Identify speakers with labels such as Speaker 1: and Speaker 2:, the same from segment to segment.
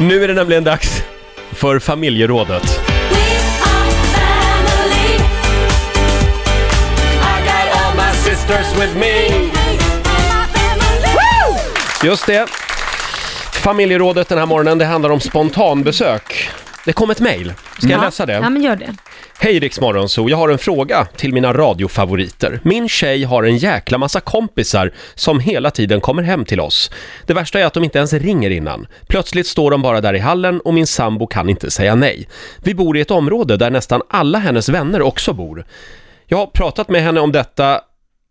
Speaker 1: Nu är det nämligen dags för familjerådet.
Speaker 2: We are family. I got all my sisters with me.
Speaker 1: Just det. Familjerådet den här morgonen, det handlar om spontanbesök. Det kom ett mejl. Ska jag läsa det?
Speaker 3: Ja, men gör det.
Speaker 1: Hej Rix Morgonzoo, jag har en fråga till mina radiofavoriter. Min tjej har en jäkla massa kompisar som hela tiden kommer hem till oss. Det värsta är att de inte ens ringer innan. Plötsligt står de bara där i hallen och min sambo kan inte säga nej. Vi bor i ett område där nästan alla hennes vänner också bor. Jag har pratat med henne om detta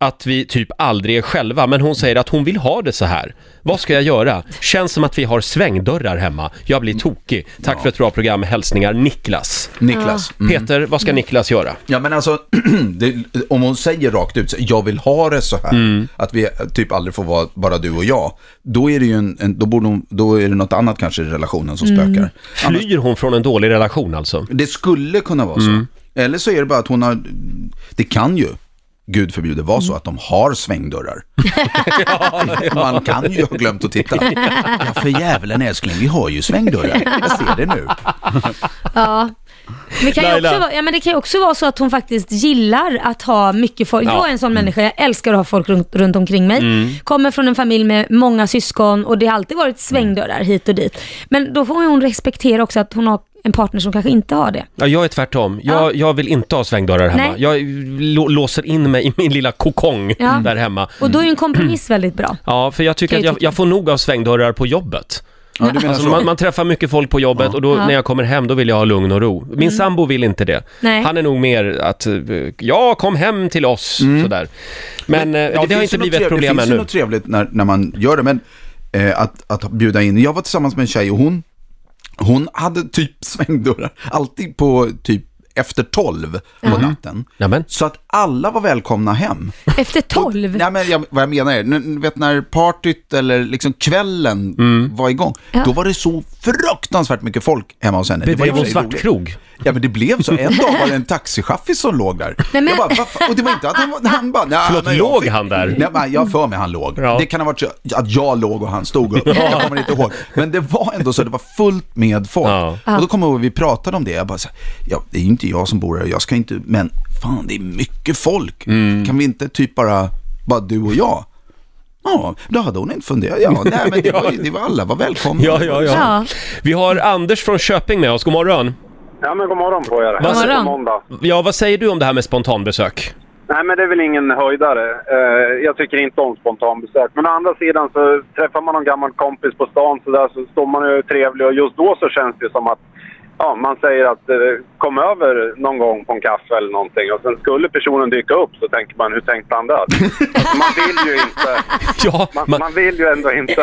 Speaker 1: att vi typ aldrig är själva, men hon säger att hon vill ha det så här. Vad ska jag göra? Känns som att vi har svängdörrar hemma. Jag blir tokig. Tack för ett bra program. Hälsningar Niklas.
Speaker 4: Niklas. Mm.
Speaker 1: Peter, vad ska Niklas göra?
Speaker 4: Ja men alltså, det, om hon säger rakt ut, så, jag vill ha det så här,
Speaker 1: Mm.
Speaker 4: att vi typ aldrig får vara bara du och jag, då är det ju en, en då, borde hon, då är det något annat kanske i relationen som spökar.
Speaker 1: Flyr hon från en dålig relation alltså?
Speaker 4: Det skulle kunna vara
Speaker 1: Mm.
Speaker 4: så. Eller så är det bara att hon har, det kan ju, gud förbjude, vara så att de har svängdörrar. Man kan ju ha glömt att titta. Ja för jävlen älskling, vi har ju svängdörrar. Jag ser det nu.
Speaker 3: Ja. Men Det kan, ju
Speaker 1: Laila.
Speaker 3: också vara, ja, men det kan ju också vara så att hon faktiskt gillar att ha mycket folk.
Speaker 1: Ja.
Speaker 3: Jag är en sån människa, jag älskar att ha folk runt, runt omkring mig. Kommer från en familj med många syskon och det har alltid varit svängdörrar hit och dit. Men då får ju hon respektera också att hon har en partner som kanske inte har det.
Speaker 1: Ja, jag är tvärtom. Jag,
Speaker 3: Ja.
Speaker 1: jag vill inte ha svängdörrar hemma.
Speaker 3: Nej.
Speaker 1: Jag lo- låser in mig i min lilla kokong
Speaker 3: Ja.
Speaker 1: där hemma.
Speaker 3: Och då är ju en kompromiss väldigt bra.
Speaker 1: Ja, för jag tycker
Speaker 3: Kan
Speaker 1: att
Speaker 3: ju
Speaker 1: jag,
Speaker 3: tycka.
Speaker 1: jag får nog av svängdörrar på jobbet.
Speaker 4: Ja, du menar
Speaker 1: Alltså,
Speaker 4: så.
Speaker 1: man, man träffar mycket folk på jobbet och då när jag kommer hem då vill jag ha lugn och ro. Min sambo vill inte det.
Speaker 3: Mm. Nej.
Speaker 1: Han är nog mer att, eh, ja kom hem till oss,
Speaker 4: Mm.
Speaker 1: sådär. Men, eh, ja, det, har
Speaker 4: finns
Speaker 1: inte
Speaker 4: ju något
Speaker 1: blivit ett
Speaker 4: trevligt-
Speaker 1: problem
Speaker 4: Det finns ju
Speaker 1: ännu.
Speaker 4: något trevligt när, när man gör det, men eh, att, att bjuda in. Jag var tillsammans med en tjej och hon, hon hade typ svängdörrar, alltid på typ efter tolv på natten.
Speaker 1: Mm. Nämen.
Speaker 4: Så att alla var välkomna hem.
Speaker 3: Efter
Speaker 4: Och,
Speaker 3: tolv.
Speaker 4: nej, men jag, vad jag menar är, n- vet när partyt eller liksom kvällen
Speaker 1: Mm.
Speaker 4: var igång,
Speaker 3: Ja.
Speaker 4: då var det så fruktansvärt mycket folk hemma hos henne. var i
Speaker 1: Bedrev
Speaker 4: och
Speaker 1: hon
Speaker 4: för sig roligt.
Speaker 1: svartkrog?
Speaker 4: Ja men det blev så. En dag var det en taxichaffis som låg där.
Speaker 3: Nej, men-
Speaker 4: jag bara, "Vad fan?" och det var inte att han, var- han bara... "Nej,
Speaker 1: Förlåt,
Speaker 4: men jag
Speaker 1: låg
Speaker 4: fick-
Speaker 1: han där?
Speaker 4: Nej, men jag har för mig han låg.
Speaker 1: Ja.
Speaker 4: Det kan ha varit så att jag låg och han stod upp. Jag kommer inte ihåg. Men det var ändå så, det var fullt med folk.
Speaker 1: Ja.
Speaker 4: Och då kommer jag ihåg, vi pratade om det. Jag bara så här, ja, det är ju inte jag som bor här, jag ska inte... Men fan, det är mycket folk.
Speaker 1: Mm.
Speaker 4: Kan vi inte typ bara, bara du och jag? Ja, då hade hon inte funderat. Ja, nej, men det var, ju- det var alla var välkomna.
Speaker 1: Ja, ja, ja,
Speaker 3: Ja.
Speaker 1: Vi har Anders från Köping med oss, god morgon.
Speaker 5: Ja men god morgon på er.
Speaker 1: God
Speaker 3: morgon.
Speaker 5: God måndag.
Speaker 1: Ja, vad säger du om det här med spontanbesök?
Speaker 5: Nej men det är väl ingen höjdare. Eh, jag tycker inte om spontanbesök. Men å andra sidan så träffar man någon gammal kompis på stan så där så står man ju trevlig och just då så känns det ju som att ja, man säger att eh, kom över någon gång på en kaffe eller någonting och sen skulle personen dyka upp så tänker man hur tänkte han där? Alltså, man vill ju inte.
Speaker 1: Ja,
Speaker 5: Man,
Speaker 1: man,
Speaker 5: man vill ju ändå inte.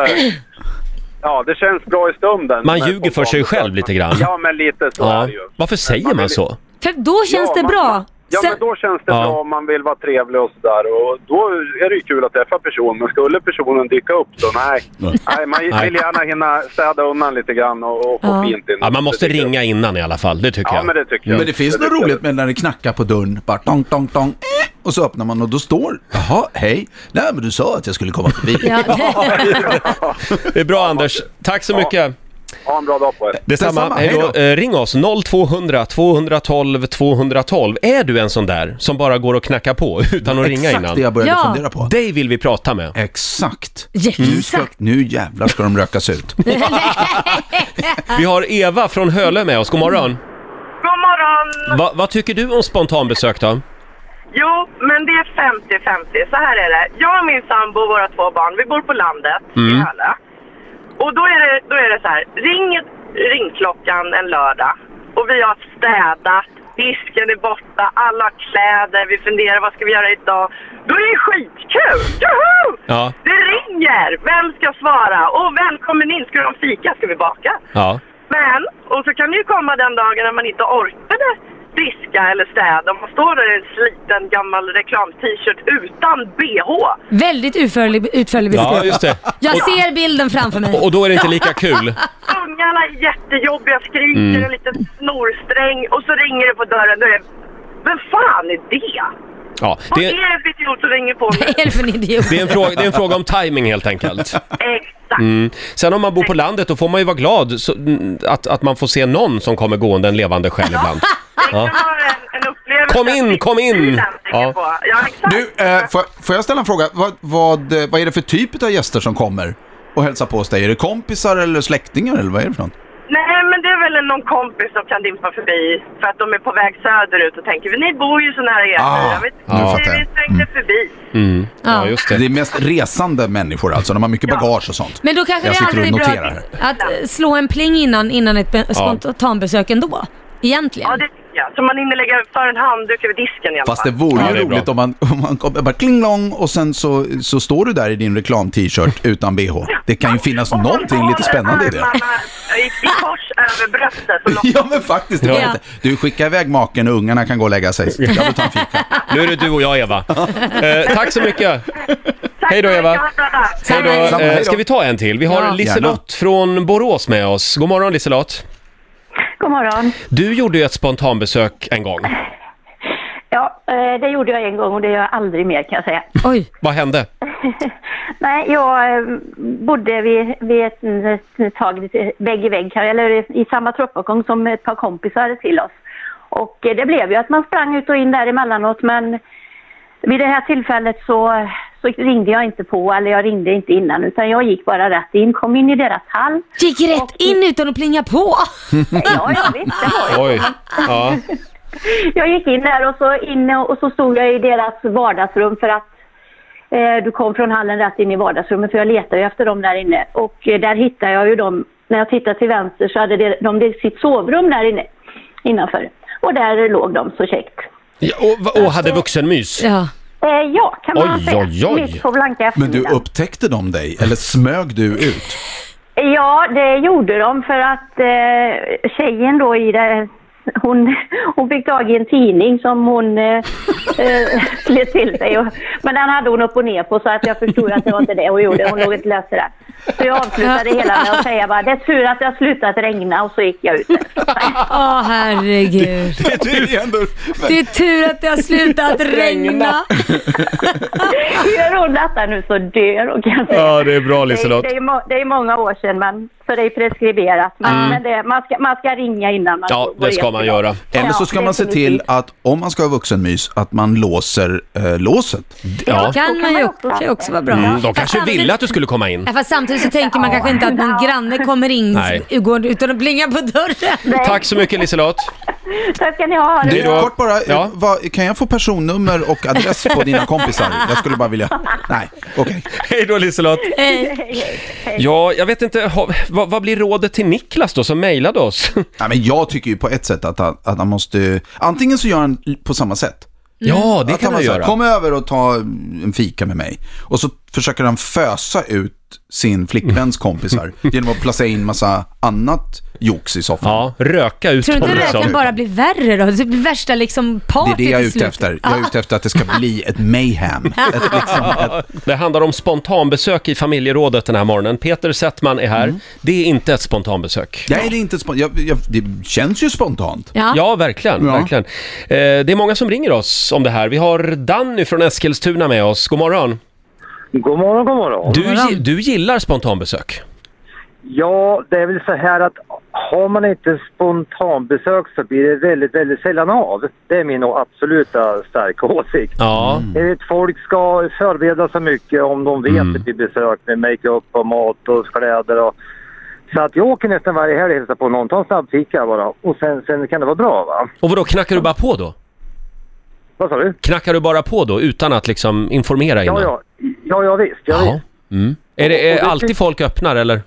Speaker 5: Ja, det känns bra i stunden.
Speaker 1: Man
Speaker 5: med
Speaker 1: ljuger för sig
Speaker 5: spontanbesök.
Speaker 1: själv lite grann.
Speaker 5: Ja, men lite så är
Speaker 1: ja.
Speaker 5: det ju.
Speaker 1: Varför säger man så?
Speaker 3: För då känns
Speaker 5: Ja,
Speaker 3: det
Speaker 5: man-
Speaker 3: bra.
Speaker 5: Ja,
Speaker 3: Sen-
Speaker 5: men då känns det
Speaker 1: Ja.
Speaker 5: bra om man vill vara trevlig och sådär. Och då är det ju kul att träffa personen. Men skulle personen dyka upp så nej. nej man vill gärna hinna städa undan lite grann och, och få
Speaker 3: Ja.
Speaker 5: fint in.
Speaker 1: Ja, man måste
Speaker 5: Det tycker jag.
Speaker 1: ringa innan i alla fall, det tycker
Speaker 5: Ja, men
Speaker 1: jag.
Speaker 5: det tycker jag.
Speaker 4: Men det finns
Speaker 5: Det
Speaker 4: något
Speaker 5: tycker jag.
Speaker 4: roligt med när det knackar på dörren, bara tong, tong, tong, eh, och så öppnar man och då står, jaha, hej, nej men du sa att jag skulle komma förbi.
Speaker 3: Ja,
Speaker 1: Det är bra Anders, tack så mycket.
Speaker 5: Ha en bra dag på er.
Speaker 1: Detsamma,
Speaker 4: Detsamma,
Speaker 1: hej
Speaker 4: hej
Speaker 1: då.
Speaker 4: då.
Speaker 1: Eh, Ring oss, 0200 212 212. Är du en sån där som bara går och knackar på utan att ringa
Speaker 4: Exakt
Speaker 1: innan?
Speaker 4: det jag började
Speaker 3: Ja.
Speaker 4: fundera på.
Speaker 1: Dig vill vi prata med.
Speaker 4: Exakt. Nu, ska,
Speaker 3: Exakt.
Speaker 4: nu jävlar ska de rökas ut.
Speaker 1: Vi har Eva från Hölö med oss, god morgon.
Speaker 6: God morgon!
Speaker 1: Va, vad tycker du om spontanbesök då?
Speaker 6: Jo, men det är 50-50. Så här är det. Jag och min sambo och våra två barn, vi bor på landet i Hölö. Och då är, det, då är det så här, ring ringklockan en lördag och vi har städat, disken är borta, alla har kläder, vi funderar vad ska vi göra idag. Då är det skitkul! Joho!
Speaker 1: Ja.
Speaker 6: Det ringer! Vem ska svara? Och välkommen in! Ska du ha en fika? Ska vi baka?
Speaker 1: Ja.
Speaker 6: Men, och så kan det ju komma den dagen när man inte orkade diska eller städa. Om man står där i en sliten gammal reklam-t-shirt utan bh.
Speaker 3: Väldigt utförlig, utförlig
Speaker 1: Ja,
Speaker 3: beskrivning.
Speaker 1: just det.
Speaker 3: Jag ser bilden framför mig.
Speaker 1: Och, och då är det inte lika kul.
Speaker 6: Ungarna är jättejobbiga, skriker
Speaker 1: Mm.
Speaker 6: en liten snorsträng och så ringer det på dörren. Då är det, vem fan är det?
Speaker 1: Ja,
Speaker 6: Vad
Speaker 1: det,
Speaker 6: är det för idiot som ringer på mig?
Speaker 3: Vad är det för en idiot?
Speaker 1: det, är en fråga, det är en fråga om timing helt enkelt.
Speaker 6: Exakt.
Speaker 1: Sen om man bor på landet, då får man ju vara glad så, mm, att, att man får se någon som kommer gående en levande själ ibland.
Speaker 6: Det kan vara en, en upplevelse.
Speaker 1: Kom in, kom in! Ja.
Speaker 6: Ja. På. ja, exakt.
Speaker 4: Du, eh, får, får jag ställa en fråga? Vad, vad, eh, vad är det för typ av gäster som kommer och hälsar på hos dig? Är det kompisar eller släktingar eller vad är det för någon?
Speaker 6: Nej, men det är väl någon kompis som kan dimpa förbi för att de är på väg söderut och tänker ni bor ju så nära er.
Speaker 4: Ah,
Speaker 6: jag vet,
Speaker 4: nu fattar jag. Mm.
Speaker 6: Vi svängde förbi.
Speaker 1: Ja, just
Speaker 4: Det
Speaker 1: det.
Speaker 4: är mest resande människor alltså, de har mycket bagage och sånt.
Speaker 3: Men då kanske
Speaker 4: Jag
Speaker 3: det
Speaker 4: sitter och
Speaker 3: alltid är bra
Speaker 4: noterar
Speaker 3: att, att slå en pling innan, innan ett be- spontanbesök ändå. Egentligen.
Speaker 6: Ja, det tycker jag. Så man hinner lägga för en handduk över disken i alla
Speaker 4: Fast det
Speaker 6: fall.
Speaker 4: vore
Speaker 1: Ja,
Speaker 4: ju
Speaker 1: det är bra.
Speaker 4: roligt om man, om man kommer bara klinglong och sen så, så står du där i din reklam-t-shirt utan bh. Det kan ju finnas
Speaker 6: Och man
Speaker 4: någonting lite
Speaker 6: håller
Speaker 4: spännande i det.
Speaker 6: armarna I, i kors över bröstet och lockar.
Speaker 4: Ja men faktiskt, det var
Speaker 3: Ja.
Speaker 4: inte. Du skickar iväg maken och ungarna kan gå och lägga sig. Jag vill ta en fika.
Speaker 1: Nu är det du och jag, Eva. Eh, tack så mycket!
Speaker 6: Tack
Speaker 1: Hej då,
Speaker 6: så mycket,
Speaker 1: Eva.
Speaker 6: ha det bra där.
Speaker 1: Hej då.
Speaker 4: Samma, hej
Speaker 1: Eh,
Speaker 4: då.
Speaker 1: ska vi ta en till? Vi har
Speaker 3: Ja.
Speaker 1: Liselott från Borås med oss. God morgon Liselott!
Speaker 7: God morgon.
Speaker 1: Du gjorde ju ett spontanbesök en gång.
Speaker 7: Ja, eh, det gjorde jag en gång och det gör jag aldrig mer kan jag säga.
Speaker 3: Oj,
Speaker 1: Vad hände?
Speaker 7: Nej, jag eh, bodde vid, vid ett, ett tag lite vägg i vägg, här, eller i samma trappuppgång som ett par kompisar till oss. Och eh, det blev ju att man sprang ut och in där emellanåt men vid det här tillfället så, så ringde jag inte på, eller jag ringde inte innan utan jag gick bara rätt in, kom in i deras hall.
Speaker 3: gick rätt in utan att plinga på.
Speaker 4: Mm.
Speaker 7: Ja, ja visst, det var
Speaker 1: Oj. Ja.
Speaker 7: Jag gick in där och så, inne och så stod jag i deras vardagsrum för att eh, du kom från hallen rätt in i vardagsrummet för jag letade ju efter dem där inne. Och eh, där hittade jag ju dem. När jag tittade till vänster så hade de, de det- sitt sovrum där inne innanför. Och där låg de så käckt.
Speaker 1: Ja, Och, och hade vuxenmys.
Speaker 3: Ja.
Speaker 7: Eh, ja, kan man
Speaker 1: Oj,
Speaker 7: säga.
Speaker 1: oj, oj.
Speaker 7: Mitt på blanka
Speaker 4: Men du,
Speaker 7: eftermiddagen.
Speaker 4: upptäckte de dig eller smög du ut?
Speaker 7: Ja, det gjorde de för att eh, tjejen då i det, hon, hon fick tag i en tidning som hon eh, eh, slet till sig. Och, men den hade hon upp och ner på så att jag förstod att det var inte det hon gjorde. Hon låg inte och läste den. Så jag avslutade hela med att säga bara, det är tur att det har slutat regna och så gick jag ut.
Speaker 3: Åh herregud.
Speaker 4: Det är ju ändå...
Speaker 3: Det är tur att det har slutat regna.
Speaker 7: Gör hon detta nu så dör hon kan jag säga.
Speaker 1: Ja, det är bra
Speaker 7: Det är,
Speaker 1: Liselott.
Speaker 7: det, är må, det är många år sedan, men, så det är preskriberat. Men, men det, man, ska, man ska ringa innan man
Speaker 1: Mm. Ja,
Speaker 7: går
Speaker 1: det ska
Speaker 7: igenom.
Speaker 1: man göra.
Speaker 4: Eller så
Speaker 7: Ja,
Speaker 4: ska man se till
Speaker 7: definitivt.
Speaker 4: att om man ska ha vuxenmys, att man låser eh, låset.
Speaker 1: Ja.
Speaker 3: Kan man ju
Speaker 7: man också.
Speaker 3: kan ju också vara bra.
Speaker 1: Mm, de
Speaker 3: Fast
Speaker 1: kanske
Speaker 3: samtidigt-
Speaker 1: ville att du skulle komma in.
Speaker 3: Ja, fast samtidigt så tänker man kanske inte att någon granne kommer in
Speaker 1: Nej.
Speaker 3: går utan att plinga på dörren.
Speaker 1: Tack så mycket Liselott!
Speaker 7: Tack ska ni ha.
Speaker 1: Det
Speaker 4: Du,
Speaker 1: är då-
Speaker 4: kort bara, eh,
Speaker 1: Ja.
Speaker 4: vad, kan jag få personnummer och adress på dina kompisar? Jag skulle bara vilja... Nej, okej.
Speaker 1: Hej då Liselott!
Speaker 3: Eh,
Speaker 1: Ja, jag vet inte, ha, vad, vad blir rådet till Niklas då som mejlade oss?
Speaker 3: Mm.
Speaker 4: Nej, men jag tycker ju på ett sätt att han, att han måste... Antingen så gör han på samma sätt.
Speaker 1: Ja, det
Speaker 4: att han
Speaker 1: kan man
Speaker 4: bara så här,
Speaker 1: göra.
Speaker 4: Kom över och ta en fika med mig. Och så försöker han fösa ut sin flickväns kompisar genom att placera in massa annat jox i soffan.
Speaker 1: Ja, röka ut
Speaker 3: Tror du
Speaker 1: dem
Speaker 3: inte
Speaker 1: liksom.
Speaker 3: röken bara blir värre då? Det blir värsta liksom
Speaker 4: Det
Speaker 3: party
Speaker 4: är det jag är
Speaker 3: till
Speaker 4: ute
Speaker 3: slut.
Speaker 4: efter. Jag är ute efter att det ska bli ett mayhem. Ett, liksom, ett,
Speaker 1: Det handlar om spontanbesök i familjerådet den här morgonen. Peter Settman är här. Det är inte ett spontanbesök.
Speaker 4: nej, det är inte spontant. Jag, jag, det känns ju spontant.
Speaker 3: Ja.
Speaker 1: Ja, verkligen.
Speaker 4: Ja.
Speaker 1: verkligen. Eh, det är många som ringer oss om det här. Vi har Danny från Eskilstuna med oss. God morgon.
Speaker 8: God morgon, god morgon.
Speaker 1: Du,
Speaker 3: morgon.
Speaker 1: gi- du gillar spontanbesök.
Speaker 8: Ja, det är väl så här att har man inte spontanbesök så blir det väldigt, väldigt sällan av. Det är min absoluta starka åsikt.
Speaker 1: Ja,
Speaker 8: Jag vet, folk ska förbereda sig mycket om de vet att det blir besök med makeup och mat och kläder. Och, så att jag åker nästan varje helg och hälsar på någon, tar en snabbfika bara och sen, sen kan det vara bra va.
Speaker 1: och vadå, knackar du bara på då?
Speaker 8: Vad sa du?
Speaker 1: Knackar du bara på då utan att liksom informera innan?
Speaker 8: Ja, ja, ja, ja visst. Ja,
Speaker 1: Jaha.
Speaker 8: visst.
Speaker 1: Mm. Är det är
Speaker 8: Och- och-
Speaker 1: alltid folk öppnar eller?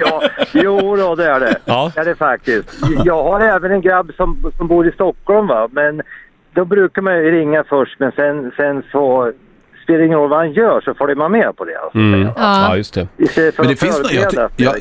Speaker 8: Ja, jo då, det är det.
Speaker 1: Ja.
Speaker 8: Det är det faktiskt. Jag har även en grabb som, som bor i Stockholm va, men då brukar man ju ringa först men sen, sen så spelar det ingen roll vad han gör så följer man med på det. Alltså.
Speaker 1: Mm.
Speaker 3: Ja.
Speaker 1: Ja, just det.
Speaker 8: Istället för
Speaker 4: Men det
Speaker 8: att
Speaker 4: finns något, jag,
Speaker 8: förbereda sig.
Speaker 4: jag,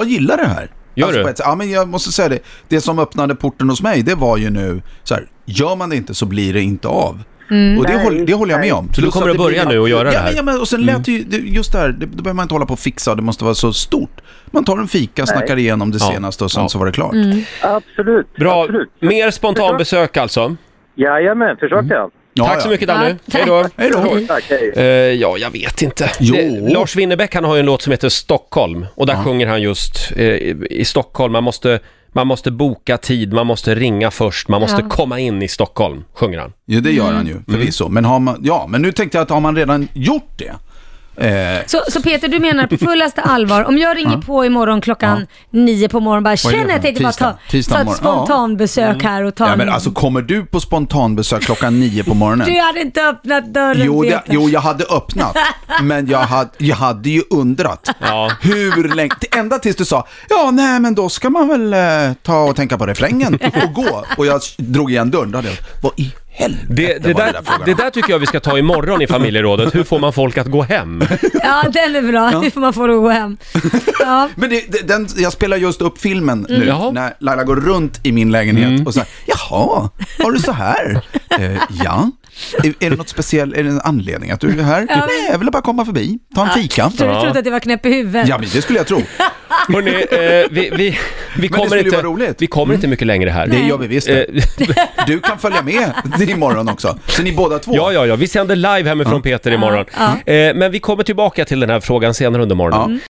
Speaker 4: jag gillar det här. Alltså,
Speaker 1: Gör du?
Speaker 4: på ett sätt- ja, men jag måste säga det. Det som öppnade porten hos mig, det var ju nu så här, gör man det inte så blir det inte av. Och det,
Speaker 8: Nej, Mm.
Speaker 4: håll, det håller jag med om.
Speaker 1: Så du kommer att
Speaker 4: det blir-
Speaker 1: börja nu och göra
Speaker 4: ja,
Speaker 1: det här?
Speaker 4: Men, ja, men, och sen lät det ju, det- just det här, det, då behöver man inte hålla på och fixa, det måste vara så stort. Man tar en fika, snackar igenom det
Speaker 1: Ja.
Speaker 4: senaste och sen
Speaker 1: Ja.
Speaker 4: så var det klart.
Speaker 8: Absolut.
Speaker 1: Bra.
Speaker 8: Absolut.
Speaker 1: Mer spontanbesök alltså?
Speaker 8: Jajamän,
Speaker 4: Mm.
Speaker 8: försökte jag.
Speaker 4: Ja,
Speaker 1: Tack så
Speaker 4: ja.
Speaker 1: mycket Danny.
Speaker 3: Ja,
Speaker 1: Hej då.
Speaker 3: tack.
Speaker 4: Hej då.
Speaker 3: Hej.
Speaker 8: Tack, hej.
Speaker 1: Eh, ja, jag vet inte.
Speaker 4: Jo.
Speaker 1: Lars Winnerbäck han har ju en låt som heter Stockholm och där sjunger han just eh, i- i Stockholm, man måste, man måste boka tid, man måste ringa först, man måste
Speaker 3: Ja.
Speaker 1: komma in i Stockholm, sjunger han.
Speaker 4: Jo, det gör han ju
Speaker 1: Mm.
Speaker 4: förvisso. Men, har man, ja, men nu tänkte jag att har man redan gjort det? Eh,
Speaker 3: Så, så Peter, du menar på fullaste allvar, om jag ringer på imorgon klockan nio på morgonen bara
Speaker 4: Vad är
Speaker 3: känner
Speaker 4: det
Speaker 3: jag
Speaker 4: för-
Speaker 3: tänkte bara ta,
Speaker 4: tisdag- tisdag
Speaker 3: ta ett
Speaker 4: morgon."
Speaker 3: spontanbesök här och ta
Speaker 4: ja, men
Speaker 3: en...
Speaker 4: alltså kommer du på spontanbesök klockan nio på
Speaker 3: Du
Speaker 4: morgonen?
Speaker 3: hade inte öppnat dörren
Speaker 4: Jo, det,
Speaker 3: Peter.
Speaker 4: jo, jag hade öppnat, men jag hade, jag hade ju undrat
Speaker 1: Ja.
Speaker 4: hur länge, till- ända tills du sa ja, nej, men då ska man väl eh, ta och tänka på refrängen och gå. Och jag drog igen dörren, då hade jag, vad i helvete
Speaker 1: Det, det,
Speaker 4: var
Speaker 1: där,
Speaker 4: det där frågan?
Speaker 1: det där tycker jag vi ska ta imorgon i familjerådet, hur får man folk att gå hem?
Speaker 3: Ja, den är bra. Nu får man få det att gå hem. Ja.
Speaker 4: Men det, det, den, jag spelar just upp filmen nu,
Speaker 1: Mm. Jaha. Mm.
Speaker 4: när Laila går runt i min lägenhet och säger ”Jaha, har du så här?” eh, ”Ja, är, är det något speciellt, är det en anledning att du är här?” ”Nej, jag ville bara komma förbi, ta en fika.”
Speaker 3: Så du trodde att jag var knäpp i huvudet?
Speaker 4: Ja, men det skulle jag tro.
Speaker 1: Hörrni, eh, vi, vi, vi kommer,
Speaker 4: skulle ju vara
Speaker 1: inte,
Speaker 4: roligt. Mm.
Speaker 1: vi kommer inte mycket längre här.
Speaker 4: Det gör vi visst. det.
Speaker 1: Eh,
Speaker 4: Du kan följa med imorgon också, så ni båda två.
Speaker 1: Ja, ja, ja. Vi sänder live hemifrån Peter imorgon. Eh, men vi kommer tillbaka till den här frågan senare under morgonen.